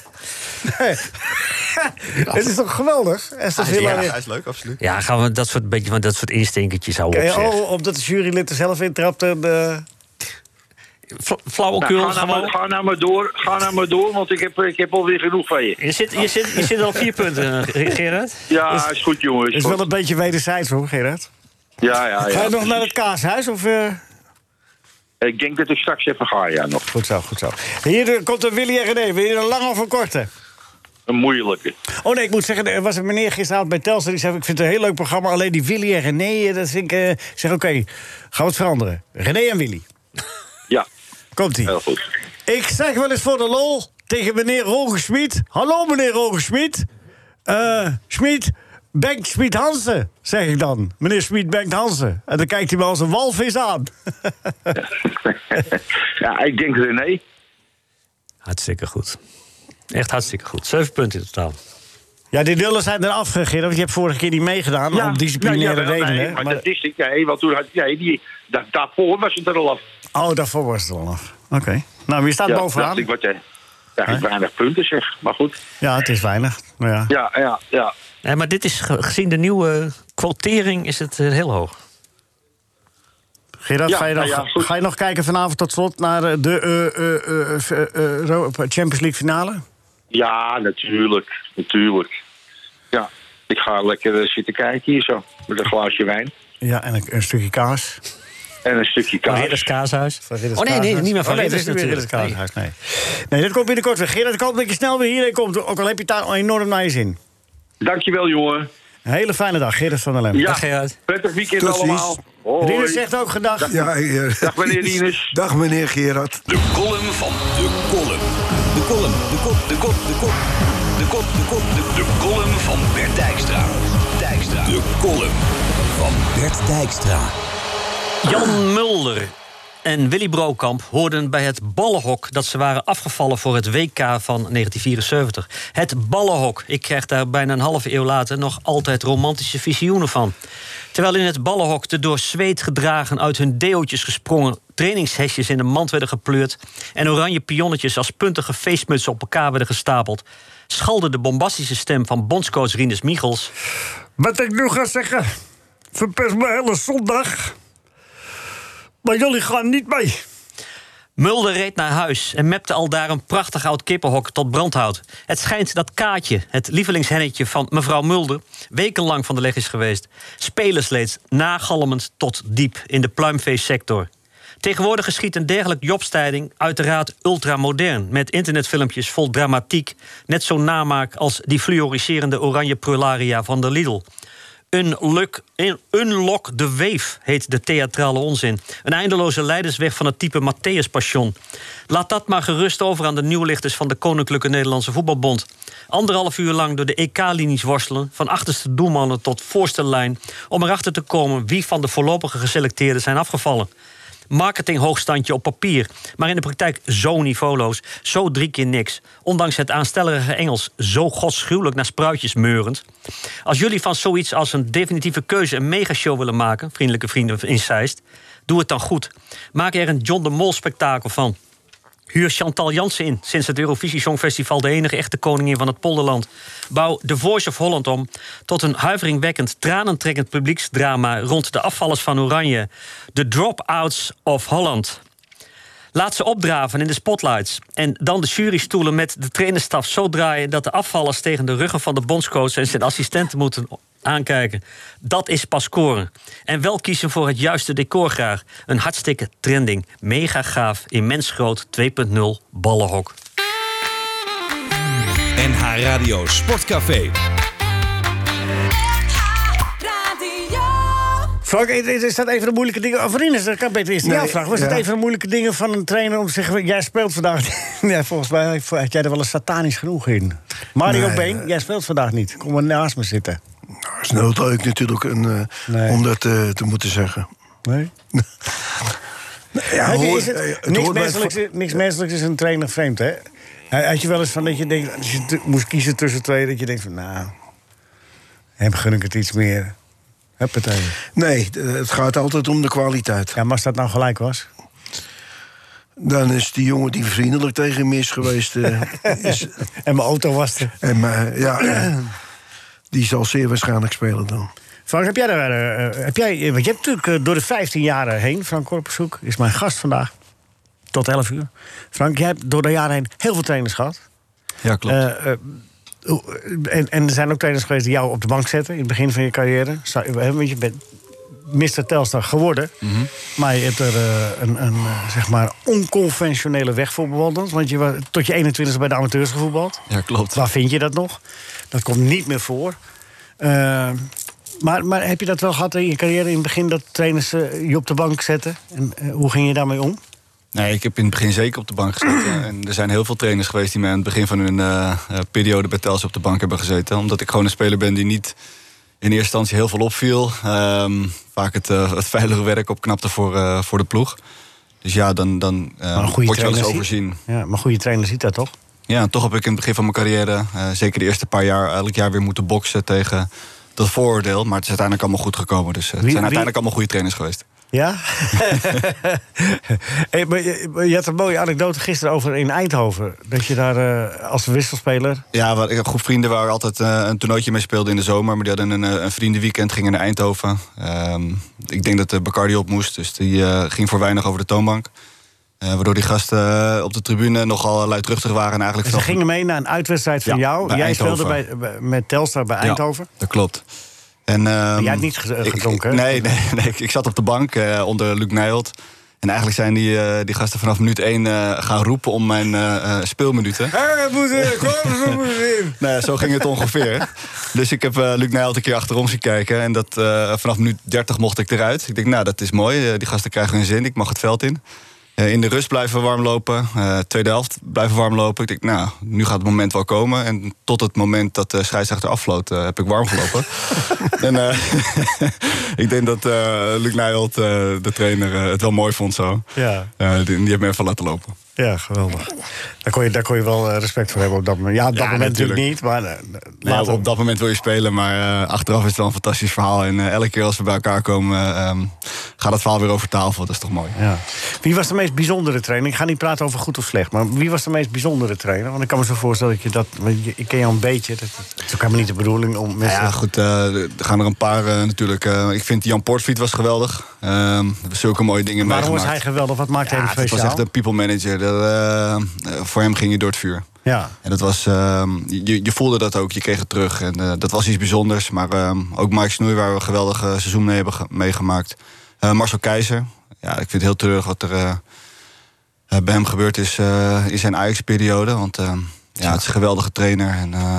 Het is toch geweldig? En
Ah, ja.
Ja, is leuk, absoluut.
Ja, gaan we dat soort, beetje van dat soort instinkertjes houden op, zeg.
Oh, omdat de jurylid er zelf eh, in trapte. De...
Fla-
Nou,
Flauwekul,
ga, nou maar,
gewoon.
ga nou maar door, ga nou maar door, want ik heb, ik heb alweer genoeg van je.
Je zit, je, zit, je zit al op vier punten, eh, Gerard.
Ja, is, goed jongens.
Is wel een beetje wederzijds hoor, Gerard.
Ja, ja,
Ga
ja.
je nog naar het kaashuis? Of, eh?
Ik denk dat ik straks even ga, ja, nog.
Goed zo, goed zo. Hier eh, komt een Willy en René. Wil je een lange of een korte?
Een moeilijke.
Oh nee, ik moet zeggen, er was een meneer gisteravond bij Telstra... die zei, ik vind het een heel leuk programma, alleen die Willy en René... eh, Dat vind ik, eh, ik zeg, oké, gaan we het veranderen. René en Willy.
Ja,
Komt-ie.
heel goed.
Ik zeg wel eens voor de lol tegen meneer Rogersmiet... Hallo meneer Rogersmiet. Eh, Schmid, Bengt Schmid Hansen, zeg ik dan. Meneer Schmid Bengt Hansen. En dan kijkt hij me als een walvis aan.
Ja, ik denk René.
Hartstikke goed. Echt hartstikke goed. Zeven punten in totaal.
Ja, die nullen zijn er afgegeven, want je hebt vorige keer niet meegedaan... om disciplinaire
Nou, jawel,
redenen.
Nee, maar,
maar-
dat is niet. Nee, want toen had nee, die, da, daarvoor was het er al af.
Oh, daarvoor was het al af. Oké. Nou, wie staat
Ja,
bovenaan?
dacht ik wat, hè. Ja, ik weinig punten zeg. Maar goed.
Ja, het is weinig. Nou ja.
Ja, ja, ja.
Nee, maar dit is, ge- gezien de nieuwe eh, quotering, is het eh, heel hoog.
Gerard,
Ja,
ga, je nog,
nou ja, goed.
ga je nog kijken vanavond tot slot naar eh, de eh, eh, eh, eh, eh, Ro- Champions League finale?
Ja, natuurlijk. Natuurlijk. Ja, ik ga lekker eh, zitten kijken hier zo. Met een glaasje wijn.
Ja, en een, een stukje kaas.
En een stukje
Van
kaas.
Ridders Kaashuis.
Van Ridders
Oh nee, nee,
Kaashuis.
niet meer van
Oh, nee,
Ridders
dat is niet meer
natuurlijk.
Ridders Kaashuis, Nee. nee, dat komt binnenkort weer. Gerard, ik hoop dat je snel weer hierheen komt. Ook al heb je het daar enorm naar je zin.
Dankjewel, jongen.
Een hele fijne dag, Gerard van der Lem.
Ja,
Dag, Gerard.
prettig weekend
Tot ziens.
allemaal. Hoi.
Rinus zegt ook gedag.
Ja, eh,
Dag, meneer Rinus.
Dag meneer Gerard.
De column van de column. De column, de kop, de kop, de kop. De kop, de kop, de De column van Bert Dijkstra. Dijkstra. De column van Bert Dijkstra.
Jan Mulder en Willy Brokamp hoorden bij het ballenhok dat ze waren afgevallen voor het WK van 1974. Het ballenhok. Ik krijg daar bijna een halve eeuw later nog altijd romantische visioenen van. Terwijl in het ballenhok de door zweet gedragen, uit hun deeltjes gesprongen trainingshesjes in de mand werden gepleurd en oranje pionnetjes als puntige feestmutsen op elkaar werden gestapeld, schalde de bombastische stem van bondscoach Rinus Michels.
Wat ik nu ga zeggen, verpest mijn hele zondag. Maar jullie gaan niet mee.
Mulder reed naar huis en mepte al daar een prachtig oud kippenhok tot brandhout. Het schijnt dat Kaatje, het lievelingshennetje van mevrouw Mulder, wekenlang van de leg is geweest. Spelersleeds nagalmend tot diep in de pluimveesector. Tegenwoordig geschiet een dergelijk jobstijding uiteraard ultramodern... met internetfilmpjes vol dramatiek, net zo namaak... als die fluoriserende oranje prularia van de Lidl. Unlock, un- unlock the Wave heet de theatrale onzin. Een eindeloze leidersweg van het type Matthäus Passion. Laat dat maar gerust over aan de nieuwlichters van de Koninklijke Nederlandse Voetbalbond. Anderhalf uur lang door de EK-linies worstelen, van achterste doelmannen tot voorste lijn, om erachter te komen wie van de voorlopige geselecteerden zijn afgevallen. Marketinghoogstandje op papier, maar in de praktijk zo niveauloos, zo drie keer niks. Ondanks het aanstellerige Engels, zo godschuwelijk naar spruitjes meurend. Als jullie van zoiets als een definitieve keuze een megashow willen maken, vriendelijke vrienden in Zeist, doe het dan goed. Maak er een John de Mol spektakel van. Huur Chantal Jansen in, sinds het Eurovisie Songfestival... de enige echte koningin van het polderland. Bouw The Voice of Holland om tot een huiveringwekkend... tranentrekkend publieksdrama rond de afvallers van Oranje. The Dropouts of Holland. Laat ze opdraven in de spotlights. En dan de jurystoelen met de trainerstaf zo draaien... dat de afvallers tegen de ruggen van de bondscoach en zijn assistenten moeten aankijken. Dat is pas scoren. En wel kiezen voor het juiste decor graag. Een hartstikke trending. Mega gaaf, immens groot, 2.0 ballenhok.
NH Radio Sportcafé.
Radio.
Frank, is is dat een van de moeilijke dingen? Of Rinus, dat kan beter eerst aan
Nee,
jou vragen. Was het
ja.
een van de moeilijke dingen van een trainer om te zeggen... jij speelt vandaag niet? Ja, volgens mij had jij er wel een satanisch genoeg in. Mario
Nee, eh,
Been,
nee.
jij speelt vandaag niet. Kom maar naast me zitten.
Dat is nooit leuk natuurlijk en, eh,
Nee.
om dat eh, te moeten zeggen.
Nee?
Ja,
is het,
eh, het
niks,
hoort bij het
menselijks, niks menselijks is een trainer vreemd, hè? Hij- Had je wel eens van dat je denkt... als je t- moest kiezen tussen twee, dat je denkt van... nou, hem gun ik het iets meer. Huppatee.
Nee, d- eh, het gaat altijd om de kwaliteit.
Ja, maar als dat nou gelijk was.
Dan is die jongen die vriendelijk tegen hem is geweest. eh, is,
En mijn auto was er.
en, eh, ja, eh, die zal zeer waarschijnlijk spelen dan.
Frank, heb jij daar... eh, eh, heb jij, eh, want je hebt natuurlijk eh, door de 15 jaren heen... Frank Korpershoek is mijn gast vandaag. Tot 11 uur. Frank, jij hebt door de jaren heen heel veel trainers gehad.
Ja, klopt.
Eh, eh, hoe- en, en er zijn ook trainers geweest die jou op de bank zetten... in het begin van je carrière. Zou- hè, Want je bent Mr. Telstar geworden.
Mhm.
Maar je hebt er eh, een, een eh, zeg maar onconventionele weg voor bewandeld. Want je was tot je 21ste bij de amateurs gevoetbald.
ja, klopt.
Waar vind je dat nog? Dat komt niet meer voor. Eh, maar, maar heb je dat wel gehad in je carrière in het begin... dat trainers eh, je op de bank zetten? En eh, hoe ging je daarmee om?
Nee, ik heb in het begin zeker op de bank gezeten. En er zijn heel veel trainers geweest die mij aan het begin van hun eh, eh, periode bij Telstra op de bank hebben gezeten. Omdat ik gewoon een speler ben die niet in eerste instantie heel veel opviel. Ehm, vaak het, eh, het veilige werk opknapte voor, eh, voor de ploeg. Dus ja, dan, dan eh,
Maar een goede
word je wel eens
trainer
overzien.
Ja, maar goede trainer ziet dat toch?
Ja, en toch heb ik in het begin van mijn carrière, eh, zeker de eerste paar jaar, elk jaar weer moeten boksen tegen dat vooroordeel. Maar het is uiteindelijk allemaal goed gekomen. Dus eh, het
Wie-
zijn uiteindelijk
wie-
allemaal goede trainers geweest.
Ja? Hey, maar je, maar je had een mooie anekdote gisteren over in Eindhoven. Dat je daar eh, als wisselspeler...
Ja, wel, ik heb een groep vrienden waar ik altijd eh, een toernooitje mee speelde in de zomer. Maar die hadden een, eh, een vriendenweekend, gingen naar Eindhoven. Ehm, ik denk dat de Bacardi op moest, dus die eh, ging voor weinig over de toonbank. Eh, waardoor die gasten eh, op de tribune nogal luidruchtig waren. En eigenlijk
Dus ze
vanaf-
gingen mee naar een uitwedstrijd van
Ja,
jou.
bij
Jij
Eindhoven.
speelde bij, bij- met Telstar bij
Ja,
Eindhoven.
dat klopt. En, ehm,
jij hebt niet ge-
ik- ik-
gedronken, hè?
nee, nee, nee, ik, ik zat op de bank eh, onder Luc Nijholt. En eigenlijk zijn die, eh, die gasten vanaf minuut 1 gaan roepen om mijn eh, eh, speelminuten. Nou ja, zo ging het ongeveer. Dus ik heb eh, Luc Nijholt een keer achterom zien kijken. En dat, eh, vanaf minuut 30 mocht ik eruit. Ik denk, nou, dat is mooi. Eh, die gasten krijgen hun zin. Ik mag het veld in. Eh, in de rust blijven warm lopen. Eh, tweede helft blijven warm lopen. Ik denk, nou, nu gaat het moment wel komen. En tot het moment dat de scheidsrechter afvloot, eh, heb ik warm gelopen. en eh, ik denk dat eh, Luc Nijholt, eh, de trainer, eh, het wel mooi vond zo.
Ja.
Eh, die, die heeft me even laten lopen.
Ja, geweldig. Daar kon je, daar kon je wel eh, respect voor hebben op dat moment. Ja, op dat
Ja,
moment natuurlijk
natuurlijk.
niet, maar eh,
Nee,
later.
op dat moment wil je spelen, maar eh, achteraf is het wel een fantastisch verhaal. En eh, elke keer als we bij elkaar komen, eh, ehm, gaat het verhaal weer over tafel. Dat is toch mooi.
Ja. Wie was de meest bijzondere trainer? Ik ga niet praten over goed of slecht, maar wie was de meest bijzondere trainer? Want ik kan me zo voorstellen dat je dat... want je- Ik ken jou een beetje, dat, dat is ook helemaal niet de bedoeling om
Nou
mensen...
ja, goed, eh, er gaan er een paar eh, natuurlijk. Eh, ik vind Jan Portfiet was geweldig. Ehm, we hebben zulke mooie dingen
Waarom was
meegemaakt.
hij geweldig? Wat maakt hem
ja, het was
speciaal?
echt een people manager. Dat, eh, eh, voor hem ging je door het vuur.
Ja,
En dat was, ehm, je, je voelde dat ook, je kreeg het terug. En eh, dat was iets bijzonders. Maar ehm, ook Mike Snoei, waar we een geweldig eh, seizoen mee hebben ge- meegemaakt. Eh, Marcel Keizer. Ja, ik vind het heel treurig wat er eh, eh, bij hem gebeurd is eh, in zijn Ajax-periode. Want ehm, ja, het is een geweldige trainer. En eh,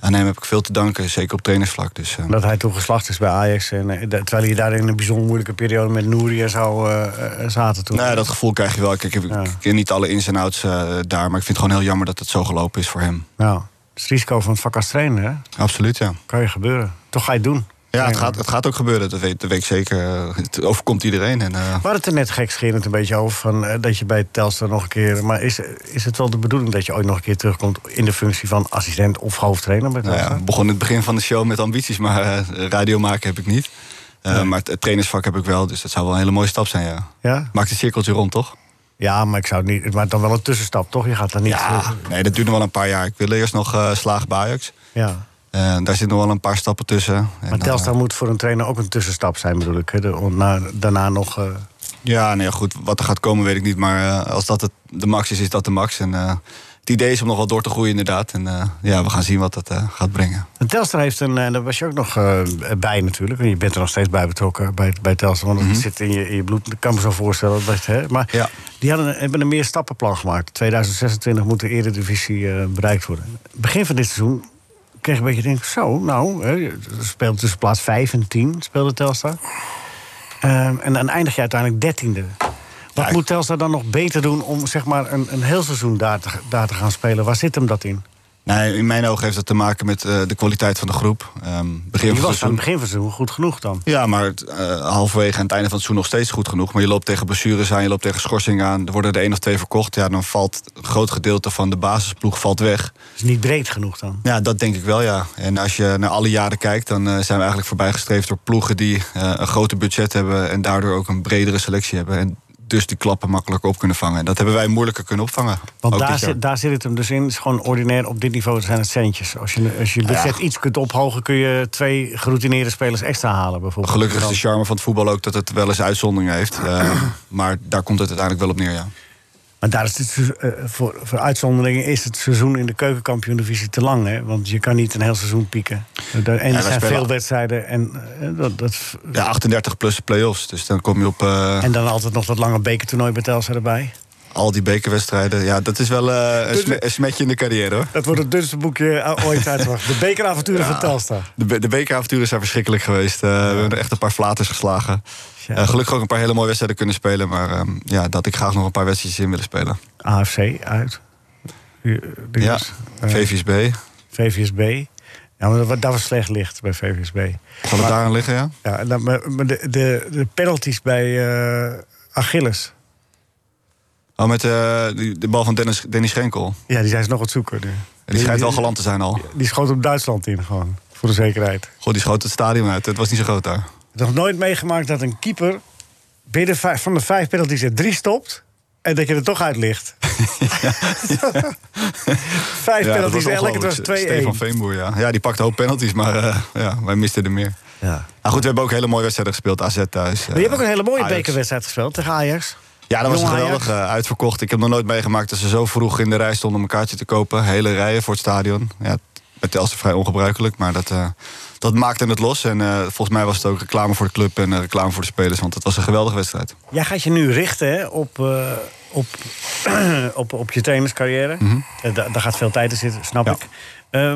aan hem heb ik veel te danken, zeker op trainersvlak. Dus, ehm,
dat hij toen geslacht is bij Ajax. En, eh, dat- terwijl je daar in een bijzonder moeilijke periode met Nouri en zo eh, eh, zaten toen.
nou, dat gevoel krijg je wel. Kijk, ik, ik ken niet alle ins en outs eh, daar. Maar ik vind het gewoon heel jammer dat het zo gelopen is voor hem.
Nou, dat is het risico van het vak als trainer, hè?
Absoluut, ja.
Kan je gebeuren. Toch ga je het doen.
Ja, het
Trainer.
gaat, het gaat ook gebeuren, dat weet, dat weet ik zeker. Eh, Het overkomt iedereen. En, eh,
We hadden het er net gekscherend een beetje over van, eh, dat je bij Telstra nog een keer. Maar is, is het wel de bedoeling dat je ooit nog een keer terugkomt in de functie van assistent of hoofdtrainer bij
Nou
Telstra?
ja, ik begon in het begin van de show met ambities, maar eh, radio maken heb ik niet. Eh, Maar het, het trainersvak heb ik wel, dus dat zou wel een hele mooie stap zijn, ja.
Ja?
Maakt een cirkeltje rond, toch?
Ja, maar ik zou het niet. Maar dan wel een tussenstap, toch? Je gaat dan niet. terug.
Nee, dat duurt nog wel een paar jaar. Ik wil eerst nog eh slagen bij Ajax.
ja.
Eh, daar zitten nog wel een paar stappen tussen. En
Maar
dan,
Telstra
eh,
moet voor een trainer ook een tussenstap zijn, bedoel ik. Hè? De- om na- daarna nog. eh,
ja, nee, goed, wat er gaat komen weet ik niet. Maar eh, als dat het, de max is, is dat de max. En eh, het idee is om nog wel door te groeien, inderdaad. En eh, ja, we gaan zien wat dat eh, gaat brengen.
En Telstra heeft een. En daar was je ook nog eh, bij natuurlijk. En je bent er nog steeds bij betrokken bij, bij Telstra. Want het zit in je, in je bloed. Ik kan me zo voorstellen. Dat, hè? Maar
Mhm. Ja.
die hadden, een- hebben een meer stappenplan gemaakt. 2026 moet de Eredivisie eh, bereikt worden. Begin van dit seizoen kreeg ik een beetje denk zo, nou, hè, je speelde tussen plaats 5 en 10 speelde Telstra. Ehm, en dan eindig je uiteindelijk dertiende. Wat
Ja,
moet Telstra dan nog beter doen om zeg maar, een, een heel seizoen daar te, daar te gaan spelen? Waar zit hem dat in?
Nee, in mijn ogen heeft dat te maken met eh, de kwaliteit van de groep. Ehm, begin
Die
van het
was aan het
seizoen.
begin van het seizoen goed genoeg dan.
Ja, maar het, eh, halverwege aan het einde van het seizoen nog steeds goed genoeg. Maar je loopt tegen blessures aan, je loopt tegen schorsingen aan. Er worden er één of twee verkocht. Ja, dan valt een groot gedeelte van de basisploeg valt weg.
Is niet breed genoeg dan.
Ja, dat denk ik wel, ja. En als je naar alle jaren kijkt, dan eh, zijn we eigenlijk voorbijgestreefd door ploegen die eh, een groter budget hebben en daardoor ook een bredere selectie hebben. En dus die klappen makkelijker op kunnen vangen. En dat hebben wij moeilijker kunnen opvangen.
Want
Ook
daar
dit jaar.
zit, daar zit het hem dus in. Het is gewoon ordinair op dit niveau zijn het centjes. Als je, als je budget iets kunt ophogen, kun je twee geroutineerde spelers extra halen bijvoorbeeld.
Gelukkig is de
Dan-
charme van het voetbal ook dat het wel eens uitzonderingen heeft. Eh, maar daar komt het uiteindelijk wel op neer, ja.
Maar daar is het, eh, voor, voor uitzonderingen is het seizoen in de keukenkampioen-divisie te lang. Hè? Want je kan niet een heel seizoen pieken. En er
wij
zijn
spelen-
veel wedstrijden en, eh, dat, dat,
Ja, 38 plus play-offs. Dus dan kom je op eh,
en dan altijd nog dat lange bekertoernooi bij Telstra erbij.
al die bekerwedstrijden. Ja, dat is wel eh,
Dus-
een, sme- een smetje in de carrière, hoor.
Dat wordt het dunste boekje eh, ooit uit. De bekeravonturen van Telstra.
De, be- de bekeravonturen zijn verschrikkelijk geweest. Eh, We hebben er echt een paar flaters geslagen.
Ja.
Eh, gelukkig ook een paar hele mooie wedstrijden kunnen spelen. Maar eh, ja, dat ik graag nog een paar wedstrijdjes in willen spelen.
AFC uit. U- dinges.
Ja,
Eh,
VVSB.
VVSB. Ja, maar dat- daar was slecht licht bij VVSB.
Zal het daar aan liggen, ja?
Ja, en dan- maar maar de, de, de penalties bij eh, Achilles.
Oh, met eh, die- de bal van Dennis, Dennis Schenkel.
Ja, die zijn ze nog aan het zoeken nu.
En die schijnt wel geland te zijn al.
Die schoot op Duitsland in gewoon, voor de zekerheid.
Goh, die schoot het stadion uit. Het was niet zo groot daar.
Nog nooit meegemaakt dat een keeper binnen vijf- van de vijf penalties er drie stopt... en dat je er toch uit ligt. vijf
Ja,
penalties
was
elk, het was
ongelooflijk. Stefan
2-1.
Veenboer, ja. Ja, die pakte een hoop penalties, maar eh, ja, wij misten er meer.
Ja.
Nou goed, we hebben ook hele mooie wedstrijden gespeeld. AZ thuis. eh,
Maar je hebt ook een hele mooie
Ajax.
bekerwedstrijd gespeeld tegen Ajax.
Ja, dat was een
Jong Ajax.
geweldig eh, uitverkocht. Ik heb nog nooit meegemaakt dat ze zo vroeg in de rij stonden om een kaartje te kopen. Hele rijen voor het stadion. Ja, bij Telstra vrij ongebruikelijk, maar dat, eh, dat maakte het los. En eh, volgens mij was het ook reclame voor de club en eh, reclame voor de spelers. Want het was een geweldige wedstrijd.
Jij gaat je nu richten hè, op, eh, op, op, op je trainerscarrière. Eh, da- daar gaat veel tijd in zitten, snap
Ja.
ik. Eh,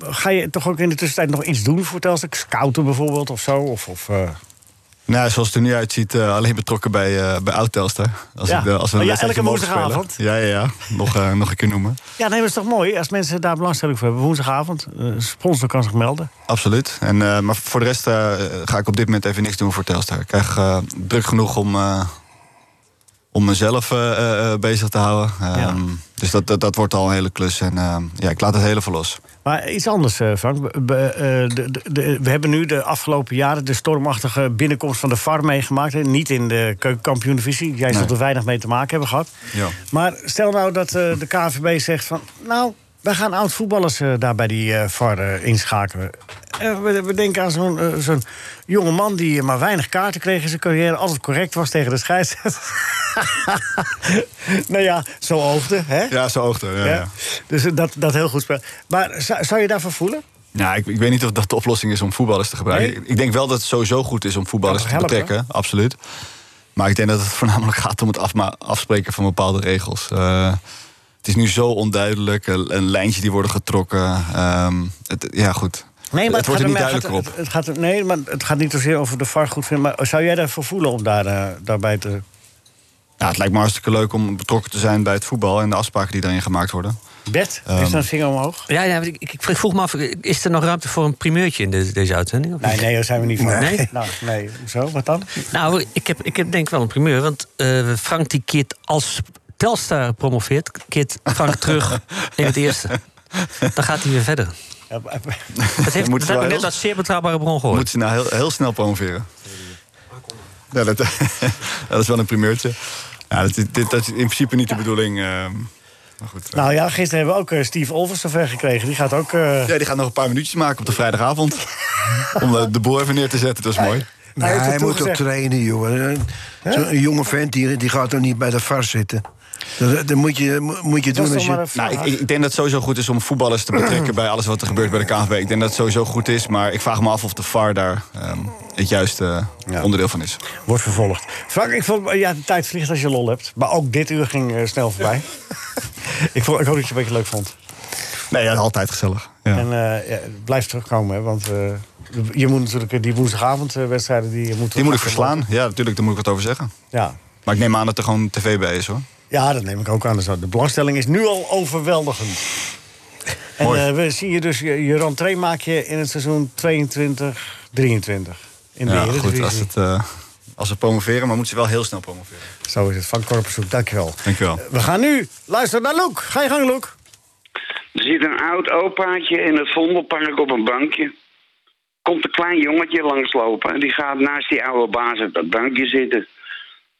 ga je toch ook in de tussentijd nog iets doen voor Telstra? Scouten bijvoorbeeld of zo? Of, of, eh,
Nou, zoals het er nu uitziet, eh, alleen betrokken bij, eh, bij Oud-Telstra. Als
Ja.
ik, eh, als we een
Oh ja,
wedstrijdje
elke
mogen spelen.
woensdagavond.
Ja, ja, ja. Nog, eh, nog een keer noemen.
Ja, nee, maar is toch mooi als mensen daar belangstelling voor hebben. Woensdagavond, eh, sponsor kan zich melden.
Absoluut. En, eh, maar voor de rest eh, ga ik op dit moment even niks doen voor Telstar. Ik krijg eh, druk genoeg om, eh, om mezelf eh, eh, eh, bezig te houden. Ehm, Dus dat, dat, dat wordt al een hele klus. En ehm, ja, ik laat het hele voor los.
Maar iets anders, eh, Frank. B- b- eh, de- de- de- we hebben nu de afgelopen jaren de stormachtige binnenkomst van de VAR meegemaakt. hè. Niet in de keukenkampioen-divisie. Jij zult
Nee.
er weinig mee te maken hebben gehad.
Ja.
Maar stel nou dat eh, de KVB zegt van... nou, wij gaan oud-voetballers eh, daar bij die eh, VAR eh, inschakelen. Eh, we, we denken aan zo'n eh, zo'n jonge man die eh, maar weinig kaarten kreeg in zijn carrière... altijd correct was tegen de scheidsrechter. nou ja, zo oogde, hè?
Ja, zo oogte. Ja,
Ja. Dus eh, dat, dat heel goed spel. Maar zou, zou je daarvoor voelen?
Nou, ik, ik weet niet of dat de oplossing is om voetballers te gebruiken.
Nee?
Ik- Ik denk wel dat het sowieso goed is om voetballers
Ja,
te
toch helpen?
betrekken, absoluut. Maar ik denk dat het voornamelijk gaat om het afma- afspreken van bepaalde regels. Eh, het is nu zo onduidelijk, eh, een, een lijntje die worden getrokken. ehm, het, ja, goed. het wordt er niet duidelijker op.
Het, het gaat, er- nee, maar het gaat niet zozeer over de VAR goed vinden. Maar zou jij daarvoor voelen om daar, eh, daarbij te...
Ja, het lijkt me hartstikke leuk om betrokken te zijn bij het voetbal en de afspraken die daarin gemaakt worden.
Bert,
Ehm.
is er een vinger omhoog?
Ja, ja, ik, ik vroeg me af, is er nog ruimte voor een primeurtje in de- deze uitzending? of niet?
Nee, nee, daar zijn we niet van.
Nee?
Nou, nee. Zo, wat dan?
Nou, ik heb, ik heb denk ik wel een primeur. Want eh, Frank die keert als Telstar promoveert, keert Frank terug in het eerste. Dan gaat hij weer verder.
Ja, eh, maar-
Dat
moeten
heeft, dat
ze wel
heb ik
heel-
net als zeer betrouwbare bron gehoord.
Moeten ze nou heel, heel snel promoveren? Ja, dat, dat is wel een primeurtje. Ja, dat, is- dit, dat is in principe niet de bedoeling. ehm, maar goed. eh.
Nou ja, gisteren hebben we ook eh, Steve Olvers zover gekregen. Die gaat ook... eh,
Ja, die gaat nog een paar minuutjes maken op de vrijdagavond. Om eh, de boel even neer te zetten, dat is mooi.
Hij
Nee,
heeft
hij,
het
moet
toegezegd.
toch trainen, jongen. Zo'n jonge vent hier, die gaat toch niet bij de VAR zitten. Dat, dat moet je, mo- moet je
was
doen
toch
als
maar
je...
een vraag.
Nou, ik, ik ik denk dat het sowieso goed is om voetballers te betrekken bij alles wat er gebeurt bij de KNVB. Ik denk dat het sowieso goed is, maar ik vraag me af of de VAR daar ehm, het juiste onderdeel van is.
Wordt vervolgd. Frank, ik vond, eh, ja, de tijd vliegt als je lol hebt. Maar ook dit uur ging eh, snel voorbij. ik, vond, ik hoop dat je het een beetje leuk vond.
Nee, ja, altijd gezellig. Ja.
En eh, ja, blijf terugkomen, hè, want eh, je moet natuurlijk eh, die woensdagavondwedstrijden... die, je moet
Die moet ik verslaan. Ja, natuurlijk, daar moet ik wat over zeggen.
Ja.
Maar ik neem aan dat er gewoon tv bij is, hoor.
eh, ja, dat neem ik ook aan. Dus De belangstelling is nu al overweldigend. En
Mooi.
eh, we zien je dus, je, je rentree maak je in het seizoen 22, 23. In de
Ja, goed,
Eredivisie.
als, het, eh, als we promoveren, maar moeten ze wel heel snel promoveren.
Zo is het, van Korpershoek, dankjewel.
Dankjewel.
We gaan nu luisteren naar Loek. Ga je gang, Loek.
Er zit een oud opaatje in het Vondelpark op een bankje. Komt een klein jongetje langslopen en die gaat naast die oude baas op dat bankje zitten.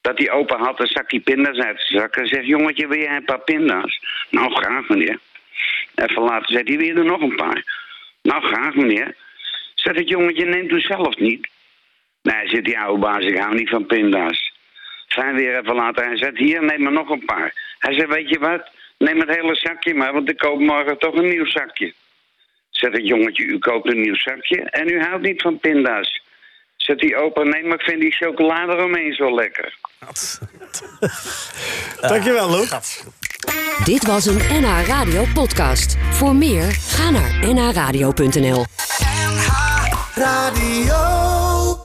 Dat die opa had een zakje pinda's uit zijn zak en zegt: Jongetje, wil jij een paar pinda's? Nou, graag meneer. Even later zegt hij: Wil je er nog een paar? Nou, graag meneer. Zegt het jongetje: Neemt u zelf niet. Nee, zit die oude baas, ik hou niet van pinda's. Fijn weer even later. Hij zegt, hier, neem maar nog een paar. Hij zegt, weet je wat? Neem het hele zakje maar, want ik koop morgen toch een nieuw zakje. Zegt het jongetje, u koopt een nieuw zakje en u houdt niet van pinda's. Zegt die opa, nee, maar ik vind die chocolade eromheen zo lekker.
Dankjewel, Loek.
Dit was een NH Radio podcast. Voor meer, ga naar nhradio.nl.
Radio.